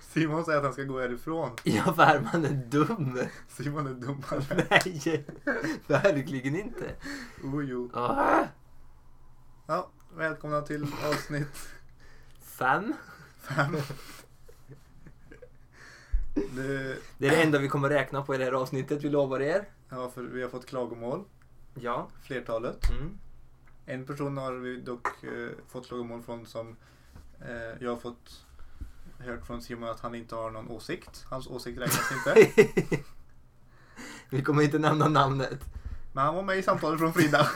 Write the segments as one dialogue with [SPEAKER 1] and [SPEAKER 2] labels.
[SPEAKER 1] Simon säger att han ska gå härifrån.
[SPEAKER 2] Ja, Värman är dum.
[SPEAKER 1] Simon är dummare.
[SPEAKER 2] Nej, verkligen inte.
[SPEAKER 1] Oh, jo.
[SPEAKER 2] Ah,
[SPEAKER 1] Ja, välkomna till avsnitt
[SPEAKER 2] fem.
[SPEAKER 1] fem. Det,
[SPEAKER 2] Det är det enda vi kommer räkna på i det här avsnittet, vi lovar er.
[SPEAKER 1] ja, för vi har fått klagomål,
[SPEAKER 2] Ja.
[SPEAKER 1] flertalet.
[SPEAKER 2] Mm.
[SPEAKER 1] En person har vi dock eh, fått klagomål från som eh, jag har fått hört från Simon att han inte har någon åsikt. Hans åsikt räknas inte.
[SPEAKER 2] vi kommer inte nämna namnet.
[SPEAKER 1] Men han var med i samtalet från Frida.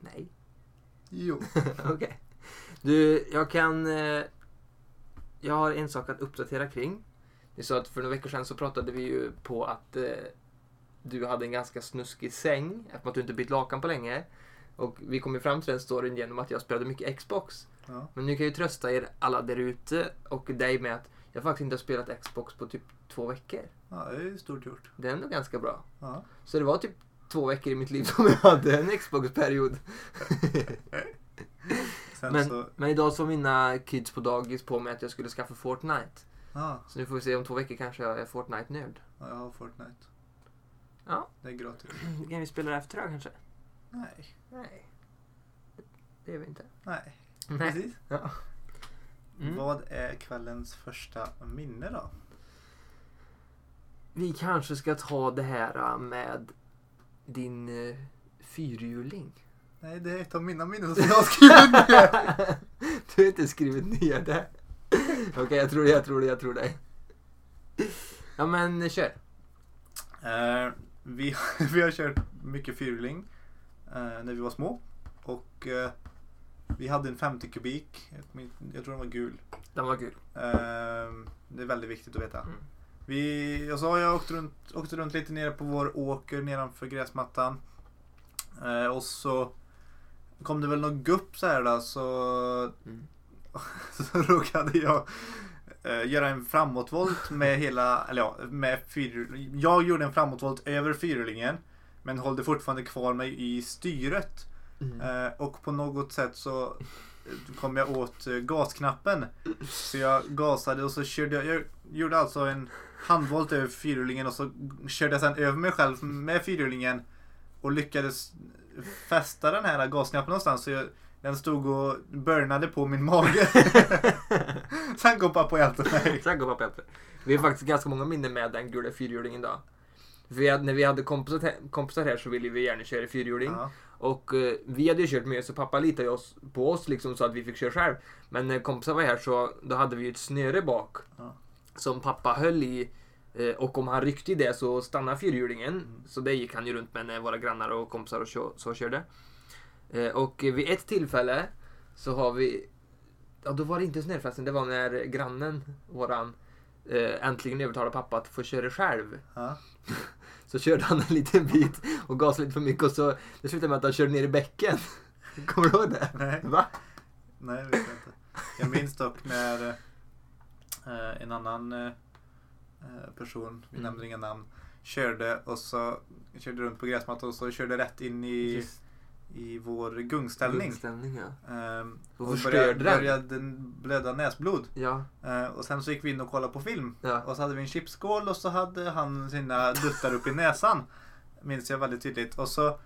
[SPEAKER 2] Nej.
[SPEAKER 1] Jo.
[SPEAKER 2] Okej. Du, jag kan... eh, Jag har en sak att uppdatera kring. Ni sa att för några veckor sedan så pratade vi ju på att eh, du hade en ganska snuskig säng eftersom att du inte bytt lakan på länge. Och vi kom ju fram till den storyn genom att jag spelade mycket Xbox.
[SPEAKER 1] Ja.
[SPEAKER 2] Men nu kan jag ju trösta er alla där ute och dig med att jag faktiskt inte har spelat Xbox på typ två veckor.
[SPEAKER 1] ja, det är ju stort gjort.
[SPEAKER 2] Det är ändå ganska bra.
[SPEAKER 1] Ja.
[SPEAKER 2] Så det var typ två veckor i mitt liv som jag hade en Xbox-period.
[SPEAKER 1] Sen så...
[SPEAKER 2] Men, men idag så var mina kids på dagis på mig att jag skulle skaffa Fortnite.
[SPEAKER 1] Ja,
[SPEAKER 2] Så nu får vi se, om två veckor kanske jag är Fortnite-nörd.
[SPEAKER 1] ja, jag har Fortnite.
[SPEAKER 2] Ja.
[SPEAKER 1] Det är gratis.
[SPEAKER 2] Kan vi spela det efter det kanske?
[SPEAKER 1] Nej.
[SPEAKER 2] Nej. Det gör vi inte.
[SPEAKER 1] Nej.
[SPEAKER 2] Nej.
[SPEAKER 1] Precis.
[SPEAKER 2] Ja. Mm.
[SPEAKER 1] Vad är kvällens första minne då?
[SPEAKER 2] Vi kanske ska ta det här äh, med din uh, fyrhjuling.
[SPEAKER 1] Nej, det är ett av mina minnen som jag har skrivit ner.
[SPEAKER 2] du har inte skrivit ner det. Okej, jag tror det, jag tror det, jag tror det. Ja men kör.
[SPEAKER 1] Eh, vi, vi har kört mycket fyrhjuling eh, när vi var små. Och eh, vi hade en 50 kubik. Jag min- Jag tror den var gul.
[SPEAKER 2] Den var kul.
[SPEAKER 1] Eh, det är väldigt viktigt att veta.
[SPEAKER 2] Mm.
[SPEAKER 1] Vi, jag sa jag åkte runt, åkte runt lite nere på vår åker nedanför gräsmattan. Eh, och så kom det väl någon gupp så här då, så
[SPEAKER 2] Mm.
[SPEAKER 1] så råkade jag eh, göra en framåtvolt med hela, eller ja, med fyr, jag gjorde en framåtvolt över fyrhjulingen men höll det fortfarande kvar mig i styret
[SPEAKER 2] Mm.
[SPEAKER 1] eh, och på något sätt så eh, kom jag åt eh, gasknappen så jag gasade och så körde jag, jag gjorde alltså en handvolt över fyrhjulingen och så körde jag sen över mig själv med fyrhjulingen och lyckades fästa den här gasknappen någonstans så jag, den stod och burnade på min mage. Sen kom pappa och hjälpte mig.
[SPEAKER 2] Sen går pappa efter. Vi har faktiskt ganska många minnen med den gula fyrhjulingen idag. För vi hade, när vi hade kompisar, he- kompisar här så ville vi gärna köra fyrhjuling.
[SPEAKER 1] Ja.
[SPEAKER 2] Och eh, vi hade ju kört med så pappa litade ju oss, på oss liksom så att vi fick köra själv. Men när kompisar var här så då hade vi ju ett snöre bak.
[SPEAKER 1] Ja.
[SPEAKER 2] Som pappa höll i. eh, Och om han ryckte i det så stannade fyrhjulingen. Så det gick han ju runt med när våra grannar och kompisar och så, så körde. Eh, Och eh, vid ett tillfälle så har vi... Ja, då var det inte snöfesten. Det var när grannen, våran, eh, äntligen övertalade pappa att få köra själv.
[SPEAKER 1] Ja.
[SPEAKER 2] Så körde han en liten bit och gasade lite för mycket och så det slutade med att han körde ner i bäcken. Kommer du ihåg det?
[SPEAKER 1] Nej.
[SPEAKER 2] Va?
[SPEAKER 1] Nej, det vet jag inte. Jag minns dock när eh, en annan eh, eh, person, vi
[SPEAKER 2] Mm.
[SPEAKER 1] nämner inga namn, körde och så körde runt på gräsmattan och så körde rätt in i, i vår gungställning.
[SPEAKER 2] Ställning, ja.
[SPEAKER 1] Ehm,
[SPEAKER 2] Och
[SPEAKER 1] började,
[SPEAKER 2] förstörde den.
[SPEAKER 1] började blöda näsblod.
[SPEAKER 2] Ja.
[SPEAKER 1] Eh, och sen så gick vi in och kollade på film.
[SPEAKER 2] Ja.
[SPEAKER 1] Och så hade vi en chipskål och så hade han sina duttar upp i näsan. Minns jag väldigt tydligt. Och så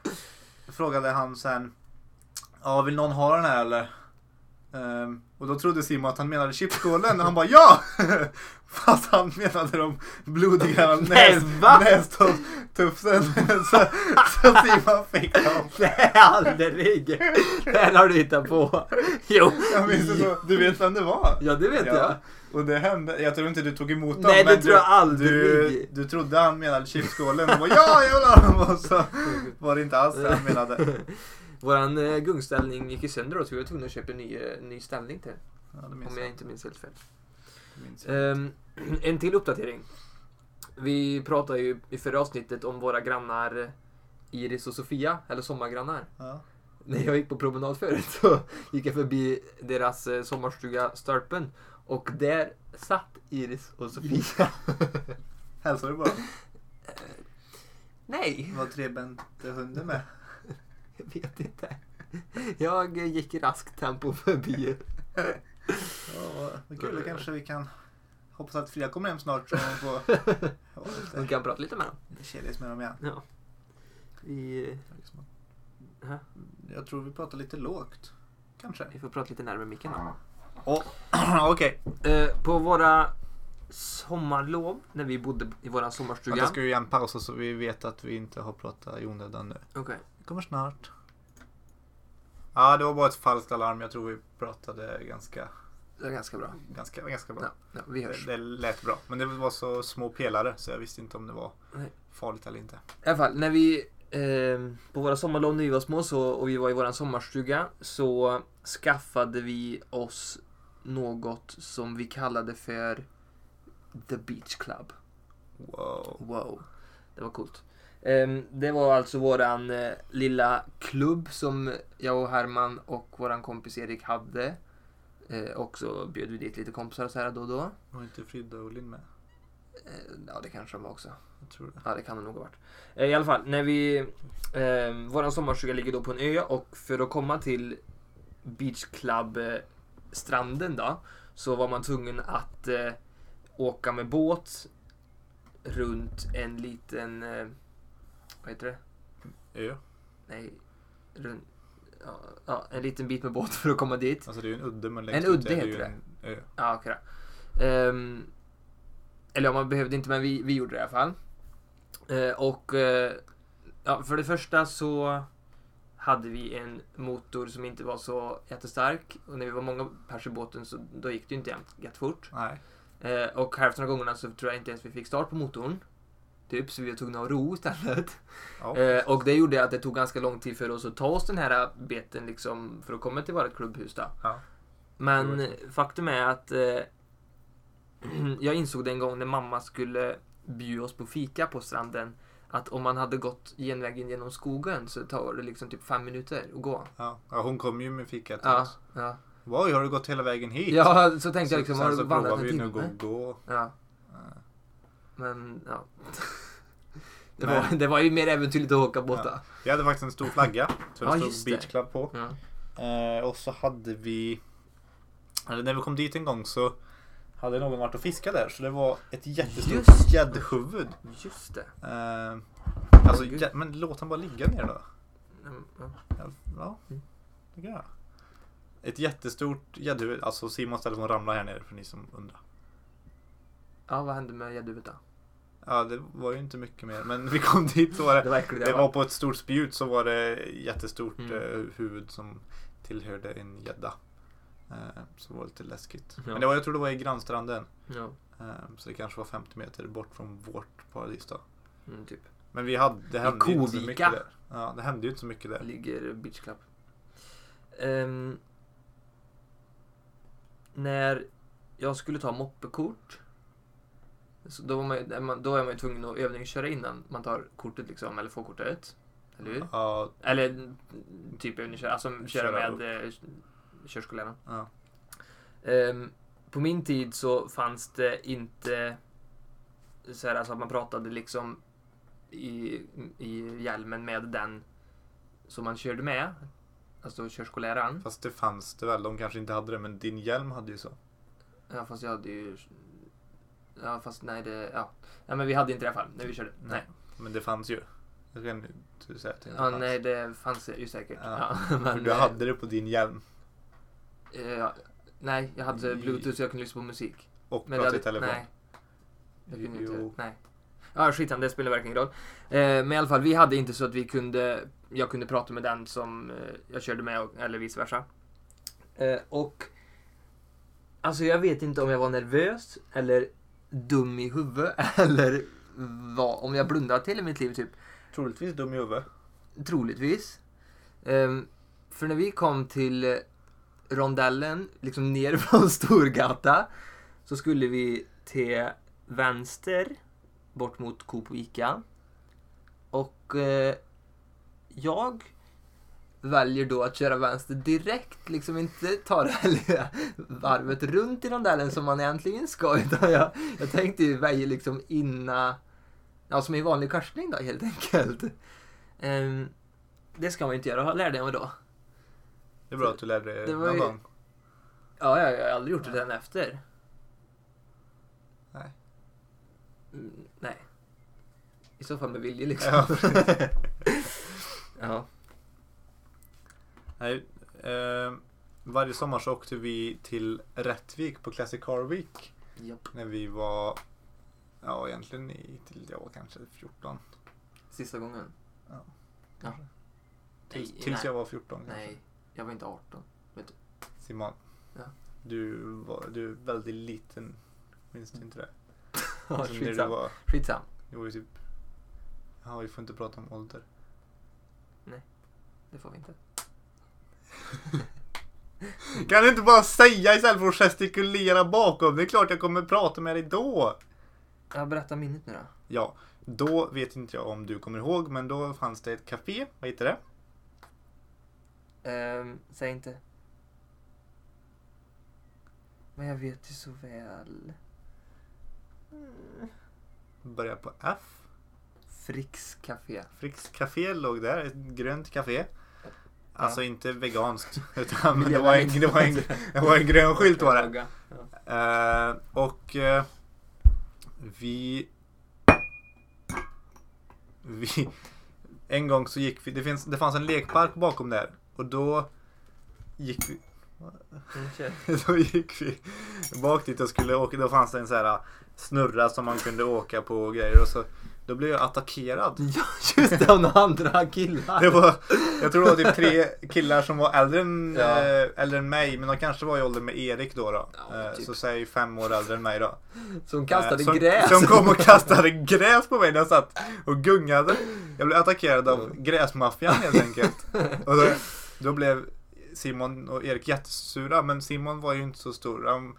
[SPEAKER 1] frågade han sen. Ja, vill någon ha den här eller? Ehm, och då trodde Simon att han menade chipskålen och han bara ja! Fast han menade de blodiga
[SPEAKER 2] Nej,
[SPEAKER 1] näs,
[SPEAKER 2] va?
[SPEAKER 1] nästufsen. så, så Simon fick dem.
[SPEAKER 2] Nej, aldrig! Det här har du hittat på. Jo.
[SPEAKER 1] Jag minns inte, du vet vem det var?
[SPEAKER 2] Ja, det vet jag.
[SPEAKER 1] Och det hände, jag tror inte du tog emot dem.
[SPEAKER 2] Nej, det
[SPEAKER 1] men
[SPEAKER 2] tror jag aldrig.
[SPEAKER 1] Du, du trodde han menade chipskålen och bara ja, jag vill ha dem! Och så var det inte alls det han menade.
[SPEAKER 2] Våran eh, gungställning gick ju sönder då så vi var tvungna att köpa en ny, eh, ny ställning till.
[SPEAKER 1] Ja, det minns
[SPEAKER 2] Om jag
[SPEAKER 1] jag.
[SPEAKER 2] inte minns helt fel.
[SPEAKER 1] Det minns jag.
[SPEAKER 2] Ehm, en till uppdatering. Vi pratade ju i förra avsnittet om våra grannar Iris och Sofia, eller sommargrannar.
[SPEAKER 1] Ja.
[SPEAKER 2] När jag gick på promenad förut så gick jag förbi deras eh, sommarstuga Störpen och där satt Iris och Sofia.
[SPEAKER 1] Hälsade du bara?
[SPEAKER 2] Nej,
[SPEAKER 1] Var trebente hunden med?
[SPEAKER 2] jag vet inte. Jag eh, gick i raskt tempo förbi
[SPEAKER 1] Ja, vad kul, då kanske vi kan hoppas att Frida kommer hem snart så hon får ja,
[SPEAKER 2] Man
[SPEAKER 1] lite
[SPEAKER 2] kan prata lite med dem.
[SPEAKER 1] kedis med dem igen.
[SPEAKER 2] Ja. Vi, eh,
[SPEAKER 1] Jag tror vi pratar lite lågt. Kanske.
[SPEAKER 2] vi får prata lite närmare micken då.
[SPEAKER 1] Oh, Okej,
[SPEAKER 2] Eh, på våra sommarlov, när vi bodde i våran sommarstuga.
[SPEAKER 1] okay. ska ju igen pausa så vi vet att vi inte har pratat i onödan nu.
[SPEAKER 2] Okej.
[SPEAKER 1] Vi kommer snart. Ja, det var bara ett falskt alarm. Jag tror vi pratade ganska,
[SPEAKER 2] Det är ganska bra.
[SPEAKER 1] ganska, ganska bra.
[SPEAKER 2] Ja, ja, vi
[SPEAKER 1] Det,
[SPEAKER 2] hörs.
[SPEAKER 1] det lät bra. Men det var så små pelare så jag visste inte om det var
[SPEAKER 2] Nej.
[SPEAKER 1] farligt eller inte.
[SPEAKER 2] I alla fall, när vi eh, på våra sommarlov när vi var små så, och vi var i våran sommarstuga så skaffade vi oss något som vi kallade för The Beach Club.
[SPEAKER 1] Wow.
[SPEAKER 2] Wow, det var coolt. Ehm, det var alltså våran eh, lilla klubb som jag och Herman och våran kompis Erik hade. Eh, och så bjöd vi dit lite kompisar och så här då och då.
[SPEAKER 1] Var inte Frida och Linn med?
[SPEAKER 2] Eh, ja, det kanske de var också.
[SPEAKER 1] Jag tror det.
[SPEAKER 2] Ja, det kan det nog ha varit. Eh, I alla fall, när vi... Eh, våran sommarstuga ligger då på en ö och för att komma till Beach Club-stranden då, så var man tvungen att eh, åka med båt runt en liten... Eh, vad heter det?
[SPEAKER 1] Ö.
[SPEAKER 2] Nej, runt... Ja, ja, en liten bit med båt för att komma dit.
[SPEAKER 1] Alltså det är ju en udde men
[SPEAKER 2] En
[SPEAKER 1] ut
[SPEAKER 2] udde
[SPEAKER 1] är det ju
[SPEAKER 2] heter
[SPEAKER 1] en Ö.
[SPEAKER 2] Ja, okej då. Ehm, Eller ja, man behövde inte, men vi, vi gjorde det i alla fall. Eh, och eh, ja, för det första så hade vi en motor som inte var så jättestark. Och när vi var många pers i båten så då gick det ju inte jämt- jättefort.
[SPEAKER 1] Nej.
[SPEAKER 2] Eh, och hälften av gångerna så tror jag inte ens vi fick start på motorn. Typ, så vi var tvungna att ro istället.
[SPEAKER 1] Ja.
[SPEAKER 2] Eh, och det gjorde att det tog ganska lång tid för oss att ta oss den här biten liksom för att komma till vårt klubbhus då.
[SPEAKER 1] Ja.
[SPEAKER 2] Men
[SPEAKER 1] Det
[SPEAKER 2] eh, faktum är att eh, jag insåg det en gång när mamma skulle bjuda oss på fika på stranden att om man hade gått genvägen genom skogen så tar det liksom typ fem minuter att gå.
[SPEAKER 1] Ja. ja, hon kom ju med fika till
[SPEAKER 2] Ja,
[SPEAKER 1] oss.
[SPEAKER 2] ja.
[SPEAKER 1] Wow, har du gått hela vägen hit?
[SPEAKER 2] ja, så tänkte jag liksom,
[SPEAKER 1] sen
[SPEAKER 2] har
[SPEAKER 1] så
[SPEAKER 2] du vandrat
[SPEAKER 1] provar vi
[SPEAKER 2] en
[SPEAKER 1] nu
[SPEAKER 2] timme?
[SPEAKER 1] att gå.
[SPEAKER 2] Ja,
[SPEAKER 1] Ja.
[SPEAKER 2] men ja. Det
[SPEAKER 1] Men-
[SPEAKER 2] var, det var ju mer äventyrligt att åka båt då.
[SPEAKER 1] Vi hade faktiskt en stor flagga. Så
[SPEAKER 2] Ja,
[SPEAKER 1] det
[SPEAKER 2] just
[SPEAKER 1] stod
[SPEAKER 2] det.
[SPEAKER 1] Beach Club på.
[SPEAKER 2] Ja.
[SPEAKER 1] Eh, och så hade vi... Eller när vi kom dit en gång så hade någon varit och fiskat där. Så det var ett jättestort
[SPEAKER 2] Just.
[SPEAKER 1] gäddhuvud.
[SPEAKER 2] Just det.
[SPEAKER 1] Eh, alltså,
[SPEAKER 2] Gud.
[SPEAKER 1] jä- men låt han bara ligga ner då.
[SPEAKER 2] Mm, ja.
[SPEAKER 1] Ja, Ja,
[SPEAKER 2] Mm.
[SPEAKER 1] det kan jag. Ett jättestort gäddhuvud. Alltså Simons telefon ramlade här nere för ni som undrar.
[SPEAKER 2] Ja, vad hände med gäddhuvudet då?
[SPEAKER 1] Ja, det var ju inte mycket mer. Men vi kom dit så var det
[SPEAKER 2] Det var äckligt.
[SPEAKER 1] Eh, Det
[SPEAKER 2] ja.
[SPEAKER 1] var på ett stort spjut så var det jättestort
[SPEAKER 2] Mm.
[SPEAKER 1] eh, huvud som tillhörde en gädda. Eh, så det var lite läskigt.
[SPEAKER 2] Ja.
[SPEAKER 1] Men det var, jag tror det var i grannstranden.
[SPEAKER 2] Ja,
[SPEAKER 1] Eh, så det kanske var 50 meter bort från vårt paradis då.
[SPEAKER 2] mm, typ.
[SPEAKER 1] Men vi hade, det
[SPEAKER 2] I
[SPEAKER 1] hände ju inte så
[SPEAKER 2] Kovika.
[SPEAKER 1] mycket där. Ja, det hände ju inte så mycket där.
[SPEAKER 2] Ligger Beach Club. Ehm, när jag skulle ta moppekort. Så då, var man, ju- där man- då är man ju tvungen att övningsköra innan man tar kortet liksom, eller får kortet. Eller hur?
[SPEAKER 1] Ja,
[SPEAKER 2] Eller mm, typ övningsköra, alltså köra,
[SPEAKER 1] Köra
[SPEAKER 2] med eh, körskolläraren.
[SPEAKER 1] ja.
[SPEAKER 2] Ehm, på min tid så fanns det inte så här, alltså att man pratade liksom i, i hjälmen med den som man körde med. Alltså körskolläraren.
[SPEAKER 1] Fast det fanns det väl. De kanske inte hade det men din hjälm hade ju så.
[SPEAKER 2] Ja fast jag hade ju... Ja fast nej det... Ja. ja men vi hade inte det i alla fall när vi körde. Nej.
[SPEAKER 1] Nej. Men det fanns ju. Jag kan inte säga att det inte
[SPEAKER 2] Ja,
[SPEAKER 1] fanns.
[SPEAKER 2] nej det fanns det ju säkert.
[SPEAKER 1] Ja. För
[SPEAKER 2] Ja. men,
[SPEAKER 1] du hade det på din hjälm.
[SPEAKER 2] eh, ja, nej jag hade
[SPEAKER 1] I-
[SPEAKER 2] bluetooth så jag kunde lyssna på musik.
[SPEAKER 1] Och
[SPEAKER 2] Men
[SPEAKER 1] pratade i
[SPEAKER 2] det hade-
[SPEAKER 1] telefon.
[SPEAKER 2] Nej. Det kunde ju
[SPEAKER 1] Jo.
[SPEAKER 2] inte. Nej. Ja, skit det spelar verkligen ingen roll. Eh, men i alla fall, vi hade inte så att vi kunde, jag kunde prata med den som eh, jag körde med, och- eller vice versa. Eh, och... Alltså jag vet inte om jag var nervös, eller dum i huvudet, eller vad, om jag blundade till i mitt liv typ.
[SPEAKER 1] Troligtvis dum i huvudet.
[SPEAKER 2] Troligtvis. Ehm, för när vi kom till eh, rondellen, liksom ner från Storgata, så skulle vi till vänster, bort mot Coop och Ica. Och eh, jag väljer då att köra vänster direkt, liksom inte ta det här lilla varvet runt i rondellen som man egentligen ska, utan jag, jag tänkte ju väja liksom innan, ja som i vanlig korsning då helt enkelt. Ehm, det ska man ju inte göra, lärde jag mig då.
[SPEAKER 1] Det är bra att du lärde dig
[SPEAKER 2] Det var
[SPEAKER 1] någon
[SPEAKER 2] ju-
[SPEAKER 1] gång.
[SPEAKER 2] Ja, ja, jag har aldrig gjort det den efter.
[SPEAKER 1] Nej.
[SPEAKER 2] Mm, nej. I så fall med vilje liksom.
[SPEAKER 1] Ja.
[SPEAKER 2] ja.
[SPEAKER 1] Nej, eh, varje sommar så åkte vi till Rättvik på Classic Car Week.
[SPEAKER 2] Japp.
[SPEAKER 1] När vi var, ja egentligen i, till jag var kanske 14.
[SPEAKER 2] Sista gången.
[SPEAKER 1] Ja.
[SPEAKER 2] Ja.
[SPEAKER 1] Tills,
[SPEAKER 2] Nej,
[SPEAKER 1] tills
[SPEAKER 2] nej.
[SPEAKER 1] jag var 14 kanske.
[SPEAKER 2] Nej, jag var inte 18.
[SPEAKER 1] Simon.
[SPEAKER 2] Ja.
[SPEAKER 1] Du, var, du är väldigt liten. Minns du inte Alltså, det? Som
[SPEAKER 2] Ja,
[SPEAKER 1] när du
[SPEAKER 2] Skitsam.
[SPEAKER 1] var,
[SPEAKER 2] Skitsam.
[SPEAKER 1] du var ju typ... Ja, vi får inte prata om ålder.
[SPEAKER 2] Det får vi inte.
[SPEAKER 1] Kan du inte bara säga istället för att gestikulera bakom? Det är klart jag kommer prata med dig då!
[SPEAKER 2] Ja, berätta minnet nu då.
[SPEAKER 1] Ja, då vet inte jag om du kommer ihåg, men då fanns det ett café. Vad heter det?
[SPEAKER 2] Ehm, säg inte. Men jag vet ju så väl. Mm,
[SPEAKER 1] Börjar på F.
[SPEAKER 2] Fricks Café.
[SPEAKER 1] Fricks Café låg där, ett grönt café. Alltså inte veganskt, utan men det, var en, det, var en, det var en grön skylt var det.
[SPEAKER 2] Ja.
[SPEAKER 1] Eh, och eh, vi... Vi... En gång så gick vi... Det, finns, det fanns en lekpark bakom där. Och då gick vi...
[SPEAKER 2] Mm, kör.
[SPEAKER 1] Då gick vi bak dit och skulle åka. Då fanns det en så här snurra som man kunde åka på och grejer. Och så, då blev jag attackerad.
[SPEAKER 2] Ja, just det, av några andra killar.
[SPEAKER 1] Det var, jag tror det var typ tre killar som var äldre än,
[SPEAKER 2] Ja.
[SPEAKER 1] eh, äldre än mig. Men de kanske var i ålder med Erik då. då.
[SPEAKER 2] Ja,
[SPEAKER 1] Eh,
[SPEAKER 2] typ.
[SPEAKER 1] Så säg fem år äldre än mig då.
[SPEAKER 2] Som kastade
[SPEAKER 1] Eh, som,
[SPEAKER 2] gräs.
[SPEAKER 1] Som kom och kastade gräs på mig när jag satt och gungade. Jag blev attackerad av
[SPEAKER 2] Mm.
[SPEAKER 1] gräsmaffian helt enkelt. Och då, då blev Simon och Erik jättesura, men Simon var ju inte så stor. Han,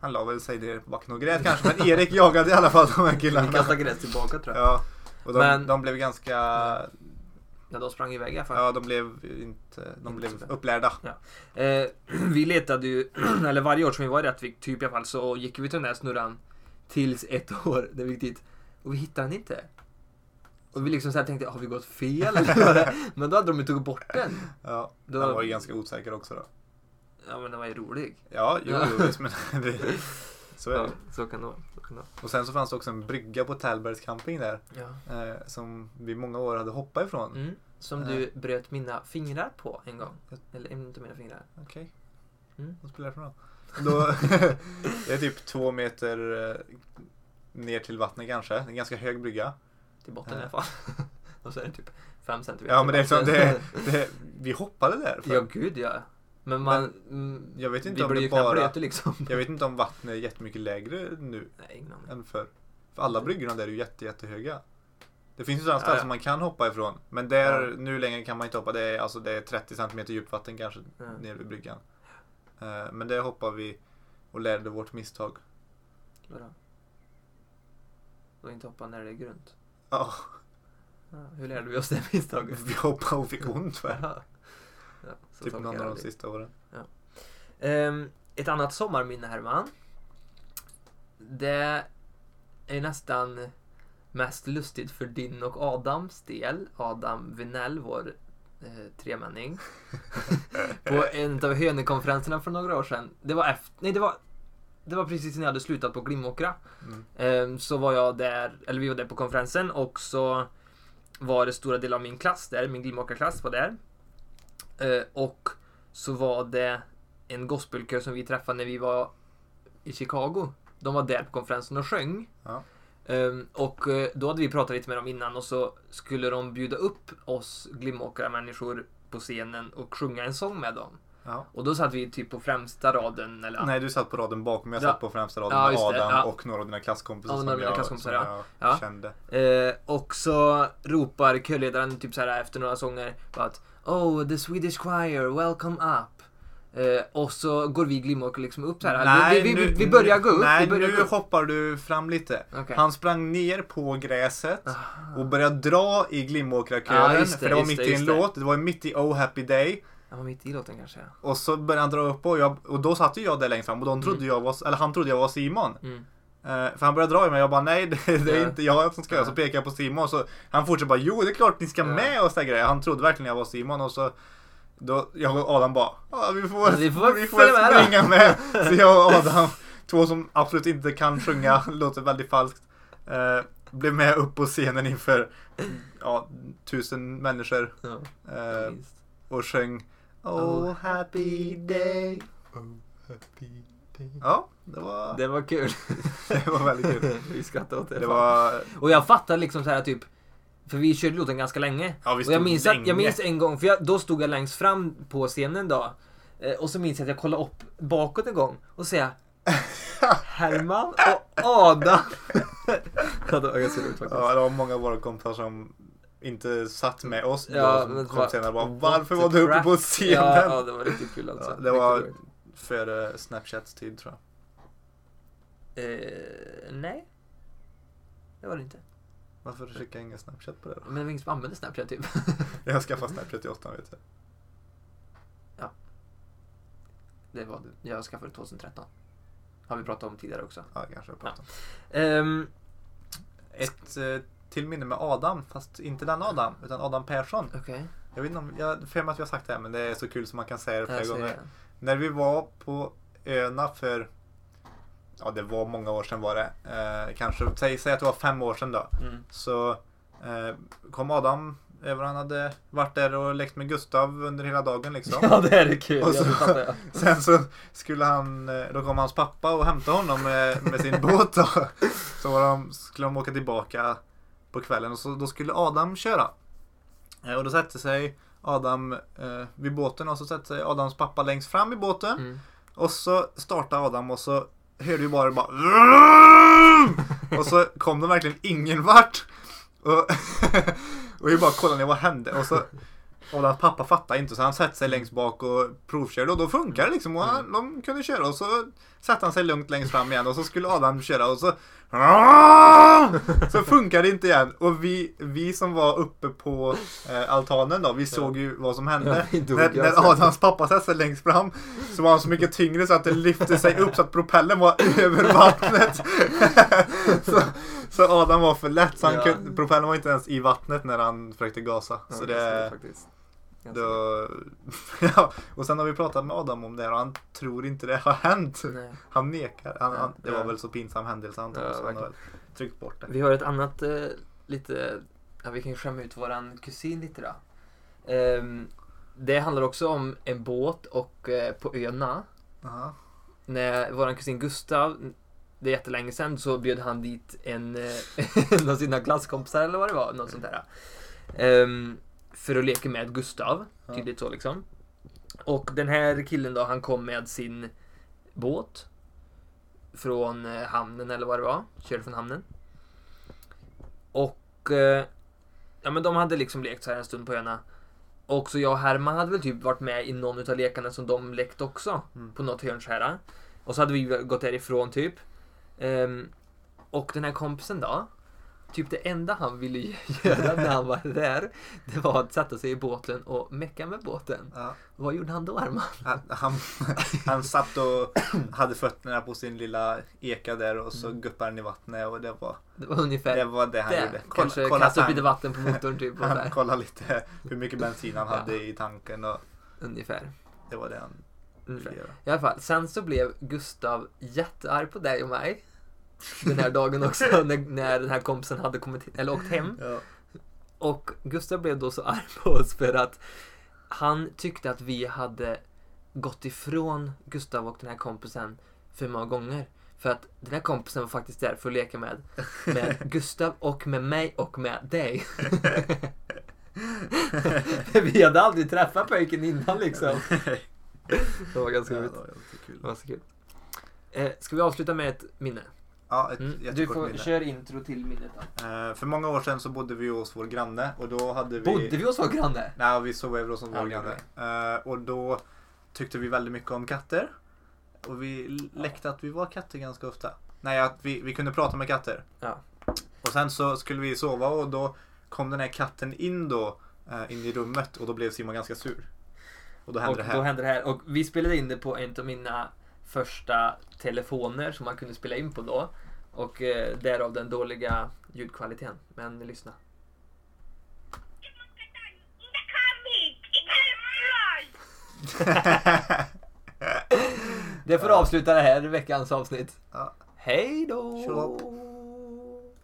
[SPEAKER 1] han la väl sig ner på backen och grät kanske, men Erik jagade i alla fall de här
[SPEAKER 2] Vi
[SPEAKER 1] killarna.
[SPEAKER 2] kastade gräs tillbaka tror jag.
[SPEAKER 1] Ja, och de,
[SPEAKER 2] Men- Mm.
[SPEAKER 1] de blev ganska,
[SPEAKER 2] Ja, de sprang iväg i alla fall.
[SPEAKER 1] ja de blev inte, de
[SPEAKER 2] Inte så
[SPEAKER 1] blev
[SPEAKER 2] bra.
[SPEAKER 1] upplärda.
[SPEAKER 2] Eh, vi letade ju, eller varje år som vi var i Rättvik typ i alla fall, så gick vi till den där snurran tills ett år när vi gick dit och vi hittade den inte. Och vi liksom så här tänkte, har vi gått fel? eller vad det är? men då hade de ju tagit bort den.
[SPEAKER 1] Ja,
[SPEAKER 2] Då-
[SPEAKER 1] han var ju ganska osäker också då.
[SPEAKER 2] Ja men den var ju rolig.
[SPEAKER 1] Ja, jo,
[SPEAKER 2] Ja.
[SPEAKER 1] jo visst, men det, så är
[SPEAKER 2] Ja,
[SPEAKER 1] det.
[SPEAKER 2] så kan det vara. Så kan det vara.
[SPEAKER 1] Och sen så fanns det också en brygga på Tallbergs camping där.
[SPEAKER 2] Ja.
[SPEAKER 1] eh, som vi många år hade hoppat ifrån.
[SPEAKER 2] Mm. Som du bröt mina fingrar på en gång. Eller mm, inte mina fingrar.
[SPEAKER 1] Okej,
[SPEAKER 2] Mm.
[SPEAKER 1] vad spelar det för roll? Då, det är typ två meter eh, ner till vattnet kanske. Det är en ganska hög brygga.
[SPEAKER 2] Till botten i
[SPEAKER 1] Ja.
[SPEAKER 2] alla fall. och så är det typ fem centimeter.
[SPEAKER 1] Ja men det är som det, det, vi hoppade där. För.
[SPEAKER 2] Ja gud ja. Men man... mm,
[SPEAKER 1] jag vet inte
[SPEAKER 2] vi
[SPEAKER 1] om
[SPEAKER 2] blir
[SPEAKER 1] det
[SPEAKER 2] ju knappt
[SPEAKER 1] bara-
[SPEAKER 2] blöta, liksom.
[SPEAKER 1] Jag vet inte om vattnet är jättemycket lägre nu
[SPEAKER 2] Nej, ingen aning.
[SPEAKER 1] än förr. För alla bryggorna där är ju jätte, jättehöga. Det finns ju sådana
[SPEAKER 2] Mm. Ja,
[SPEAKER 1] ställen
[SPEAKER 2] ja.
[SPEAKER 1] som man kan hoppa ifrån. Men där,
[SPEAKER 2] Ja.
[SPEAKER 1] nu längre kan man inte hoppa. Det är, alltså, det är 30 cm djupt vatten kanske
[SPEAKER 2] Ja.
[SPEAKER 1] ner vid bryggan. Eh, men där hoppade vi och lärde vårt misstag.
[SPEAKER 2] Vadå? Och inte hoppa när det är grunt?
[SPEAKER 1] Ja.
[SPEAKER 2] Ja, hur lärde vi oss det misstaget?
[SPEAKER 1] Vi hoppade och fick ont va?
[SPEAKER 2] Ja. Ja, så
[SPEAKER 1] Typ
[SPEAKER 2] tolkar
[SPEAKER 1] någon
[SPEAKER 2] jag
[SPEAKER 1] av de
[SPEAKER 2] det.
[SPEAKER 1] sista åren.
[SPEAKER 2] Ehm, ett annat sommarminne Herman. Det är nästan mest lustigt för din och Adams del. Adam Vinell, vår eh, tremänning. på en av Hönökonferenserna för några år sedan. Det var efter, nej det var, det var precis när jag hade slutat på Glimåkra.
[SPEAKER 1] Mm.
[SPEAKER 2] Ehm, så var jag där, eller vi var där på konferensen och så var det stora delar av min klass där, min Glimåkra-klass var där. Eh, och så var det en gospelkör som vi träffade när vi var i Chicago. De var där på konferensen och sjöng.
[SPEAKER 1] Ja.
[SPEAKER 2] Ehm, och eh, då hade vi pratat lite med dem innan och så skulle de bjuda upp oss Glimåkra-människor på scenen och sjunga en sång med dem.
[SPEAKER 1] Ja.
[SPEAKER 2] Och då satt vi typ på främsta raden. Eller,
[SPEAKER 1] Nej, du satt på raden bakom. Jag
[SPEAKER 2] Ja.
[SPEAKER 1] satt på främsta raden
[SPEAKER 2] Ja,
[SPEAKER 1] med
[SPEAKER 2] just det,
[SPEAKER 1] Adam
[SPEAKER 2] ja.
[SPEAKER 1] och några av dina klasskompisar
[SPEAKER 2] Ja,
[SPEAKER 1] som
[SPEAKER 2] några av mina
[SPEAKER 1] jag,
[SPEAKER 2] klasskompisar,
[SPEAKER 1] som
[SPEAKER 2] ja.
[SPEAKER 1] jag
[SPEAKER 2] Ja.
[SPEAKER 1] kände.
[SPEAKER 2] Eh, och så ropar körledaren typ så här efter några sånger bara att Oh, the Swedish choir, welcome up. Eh, och så går vi Glimåker liksom upp så här. vi, vi, vi, vi börjar gå upp.
[SPEAKER 1] Nej,
[SPEAKER 2] vi börjar
[SPEAKER 1] nu
[SPEAKER 2] gå upp.
[SPEAKER 1] hoppar du fram lite.
[SPEAKER 2] Okej.
[SPEAKER 1] Han sprang ner på gräset
[SPEAKER 2] Ah.
[SPEAKER 1] och började dra i Glimåkra-kören.
[SPEAKER 2] Ja, just det,
[SPEAKER 1] för det var
[SPEAKER 2] just
[SPEAKER 1] mitt
[SPEAKER 2] det,
[SPEAKER 1] i en
[SPEAKER 2] just det.
[SPEAKER 1] låt. Det var mitt i Oh Happy Day.
[SPEAKER 2] Han var mitt i låten kanske.
[SPEAKER 1] Och så började han dra upp och, jag, och då satt ju jag där längst fram och de trodde jag var, eller han trodde jag var Simon.
[SPEAKER 2] Mm.
[SPEAKER 1] Eh, För han började dra i mig och jag bara nej det, det är
[SPEAKER 2] Ja.
[SPEAKER 1] inte jag som ska göra. Så pekade jag på Simon så han fortsätter bara jo det är klart ni ska
[SPEAKER 2] Ja.
[SPEAKER 1] med och sådär grejer. Han trodde verkligen jag var Simon och så Då, jag och Adam bara, ah, vi får,
[SPEAKER 2] Vi får följa med då."
[SPEAKER 1] springa med. Så jag och Adam, två som absolut inte kan sjunga, låter väldigt falskt, eh, blev med upp på scenen inför ja, tusen människor
[SPEAKER 2] Ja,
[SPEAKER 1] eh,
[SPEAKER 2] minst.
[SPEAKER 1] och sjöng Oh happy day. Ja, det var,
[SPEAKER 2] Det var kul.
[SPEAKER 1] det var väldigt kul.
[SPEAKER 2] vi skrattade åt det.
[SPEAKER 1] Det var,
[SPEAKER 2] Och jag fattar liksom så här typ. För vi körde låten ganska länge.
[SPEAKER 1] Ja, vi
[SPEAKER 2] och jag
[SPEAKER 1] stod
[SPEAKER 2] minns, Att,
[SPEAKER 1] länge.
[SPEAKER 2] jag minns en gång, för jag, då stod jag längst fram på scenen då. Eh, Och så minns jag att jag kollade upp bakåt en gång och säga Herman och Adam. ja, det var ganska roligt faktiskt.
[SPEAKER 1] ja, det var många av våra kompisar som inte satt med oss då,
[SPEAKER 2] Ja, men
[SPEAKER 1] som
[SPEAKER 2] det
[SPEAKER 1] kom
[SPEAKER 2] var-
[SPEAKER 1] senare och bara
[SPEAKER 2] what
[SPEAKER 1] Varför
[SPEAKER 2] the
[SPEAKER 1] var du uppe
[SPEAKER 2] crap?"
[SPEAKER 1] på scenen?
[SPEAKER 2] Ja, ja, det var riktigt kul alltså.
[SPEAKER 1] Ja, det
[SPEAKER 2] Riktigt
[SPEAKER 1] var-
[SPEAKER 2] roligt.
[SPEAKER 1] Före Snapchats tid tror jag.
[SPEAKER 2] Eh, nej. Det var det inte.
[SPEAKER 1] Varför skickar jag ingen Snapchat på det då?
[SPEAKER 2] Men vi använde Snapchat typ.
[SPEAKER 1] Jag skaffade Snapchat i åttan vet jag.
[SPEAKER 2] det var det. Jag skaffade 2013. Har vi pratat om tidigare också.
[SPEAKER 1] Ja, kanske jag pratar.
[SPEAKER 2] Ehm,
[SPEAKER 1] Ett eh, till minne med Adam, fast inte den Adam, utan Adam Persson.
[SPEAKER 2] Okej.
[SPEAKER 1] Jag vet inte om, jag för mig att vi har sagt det här men det är så kul som man kan säga det flera
[SPEAKER 2] Jag ser
[SPEAKER 1] gånger.
[SPEAKER 2] det.
[SPEAKER 1] När vi var på Öna för, ja det var många år sedan var det. Eh, kanske, säg, säg att det var fem år sedan då.
[SPEAKER 2] Mm.
[SPEAKER 1] Så eh, kom Adam över, han hade varit där och lekt med Gustav under hela dagen liksom.
[SPEAKER 2] Ja, det är kul.
[SPEAKER 1] Och
[SPEAKER 2] ja,
[SPEAKER 1] så-
[SPEAKER 2] det fattar jag.
[SPEAKER 1] Sen så skulle han, eh, då kom hans pappa och hämtade honom med, med sin båt då. Så var de, skulle de åka tillbaka på kvällen och så, då skulle Adam köra. Eh, Och då satte sig Adam eh, vid båten och så satte sig Adams pappa längst fram i båten.
[SPEAKER 2] Mm.
[SPEAKER 1] Och så startade Adam och så hörde vi bara bara Och så kom de verkligen ingen vart. Och, och vi bara kollade ner vad hände. Och så Adams pappa fattade inte så han satte sig längst bak och provkörde och då funkar det liksom. Och han, de kunde köra och så satte han sig lugnt längst fram igen och så skulle Adam köra och så så funkar det inte igen. Och vi, vi som var uppe på eh, altanen då, vi såg ju vad som
[SPEAKER 2] Ja,
[SPEAKER 1] hände.
[SPEAKER 2] vi dog alltså.
[SPEAKER 1] när,
[SPEAKER 2] ganska
[SPEAKER 1] när Adams pappa satte sig längst fram så var han så mycket tyngre så att det lyfte sig upp så att propellen var över vattnet. så, så Adam var för lätt så han
[SPEAKER 2] Ja.
[SPEAKER 1] kunde, propellen var inte ens i vattnet när han försökte gasa.
[SPEAKER 2] Ja,
[SPEAKER 1] Så
[SPEAKER 2] jag ser
[SPEAKER 1] det,
[SPEAKER 2] faktiskt. Jag ser
[SPEAKER 1] då, ja. Och sen har vi pratat med Adam om det här och han tror inte det har hänt.
[SPEAKER 2] det. Nej.
[SPEAKER 1] Han nekar. Han, han, det
[SPEAKER 2] Ja.
[SPEAKER 1] var väl så pinsam händelse antar jag
[SPEAKER 2] Ja,
[SPEAKER 1] så han har
[SPEAKER 2] verkligen.
[SPEAKER 1] väl tryckt bort det.
[SPEAKER 2] Vi har ett annat eh, lite... Ja, vi kan ju skämma ut våran kusin lite då. Ehm, det handlar också om en båt och eh, på öarna.
[SPEAKER 1] Jaha.
[SPEAKER 2] När våran kusin Gustav, det är jättelänge sedan, så bjöd han dit en, eh, en av sina klasskompisar eller vad det var. Något sånt där. Ehm, för att leka med Gustav.
[SPEAKER 1] Ja.
[SPEAKER 2] Tydligt så liksom. Och den här killen då, han kom med sin båt. Från eh, hamnen eller vad det var. Körde från hamnen. Och... Eh, ja men de hade liksom lekt så här en stund på öarna. Och så jag och Herman hade väl typ varit med i någon utav lekarna som de lekte också.
[SPEAKER 1] Mm.
[SPEAKER 2] På något hörnskära. Och så hade vi gått därifrån typ. Ehm, och den här kompisen då. Typ det enda han ville göra när han var där. Det var att sätta sig i båten och mecka med båten.
[SPEAKER 1] Ja.
[SPEAKER 2] Vad gjorde han då Herman?
[SPEAKER 1] Han, han, han satt och hade fötterna på sin lilla eka där och så guppade han i vattnet och det var
[SPEAKER 2] Det var ungefär
[SPEAKER 1] det, var det han gjorde.
[SPEAKER 2] Mm. det. Kanske kasta upp lite vatten på motorn typ. Och så
[SPEAKER 1] han,
[SPEAKER 2] här.
[SPEAKER 1] han kollade lite hur mycket bensin han
[SPEAKER 2] Ja.
[SPEAKER 1] hade i tanken och
[SPEAKER 2] Ungefär.
[SPEAKER 1] det var det han
[SPEAKER 2] Ungefär.
[SPEAKER 1] ville göra.
[SPEAKER 2] I alla fall, sen så blev Gustav jättearg på dig och mig. Den här dagen också när, när den här kompisen hade kommit, eller åkt hem.
[SPEAKER 1] Ja.
[SPEAKER 2] Och Gustav blev då så arg på oss för att han tyckte att vi hade gått ifrån Gustav och den här kompisen för många gånger. För att den här kompisen var faktiskt där för att leka med, med Gustav och med mig och med dig. För vi hade aldrig träffat pojken innan liksom. Det var ganska
[SPEAKER 1] Ja,
[SPEAKER 2] roligt. Mm.
[SPEAKER 1] det var jävligt
[SPEAKER 2] Det
[SPEAKER 1] kul.
[SPEAKER 2] var så kul. Eh, ska vi avsluta med ett minne?
[SPEAKER 1] Ja, ett
[SPEAKER 2] Mm. Du
[SPEAKER 1] jättekort
[SPEAKER 2] får
[SPEAKER 1] minne.
[SPEAKER 2] köra intro till minnet. Då.
[SPEAKER 1] Eh, För många år sedan så bodde vi hos vår granne och då hade vi...
[SPEAKER 2] Bodde vi hos vår granne?
[SPEAKER 1] Nej, vi sov över hos en
[SPEAKER 2] Ja,
[SPEAKER 1] vår
[SPEAKER 2] det gjorde
[SPEAKER 1] granne. Eh, och då tyckte vi väldigt mycket om katter. Och vi l- läckte att vi var katter ganska ofta. Nej, att vi, vi kunde prata med katter.
[SPEAKER 2] Ja.
[SPEAKER 1] Och sen så skulle vi sova och då kom den här katten in då, eh, in i rummet och då blev Simon ganska sur. Och då
[SPEAKER 2] och
[SPEAKER 1] hände det
[SPEAKER 2] då
[SPEAKER 1] här.
[SPEAKER 2] hände det här. Och vi spelade in det på en av mina första telefoner som man kunde spela in på då. Och eh, därav den dåliga ljudkvaliteten. Men lyssna.
[SPEAKER 3] In the car, in the car, in the car.
[SPEAKER 1] Det får avsluta det här veckans avsnitt.
[SPEAKER 2] Ja.
[SPEAKER 1] Hej då!
[SPEAKER 2] Tjolapp.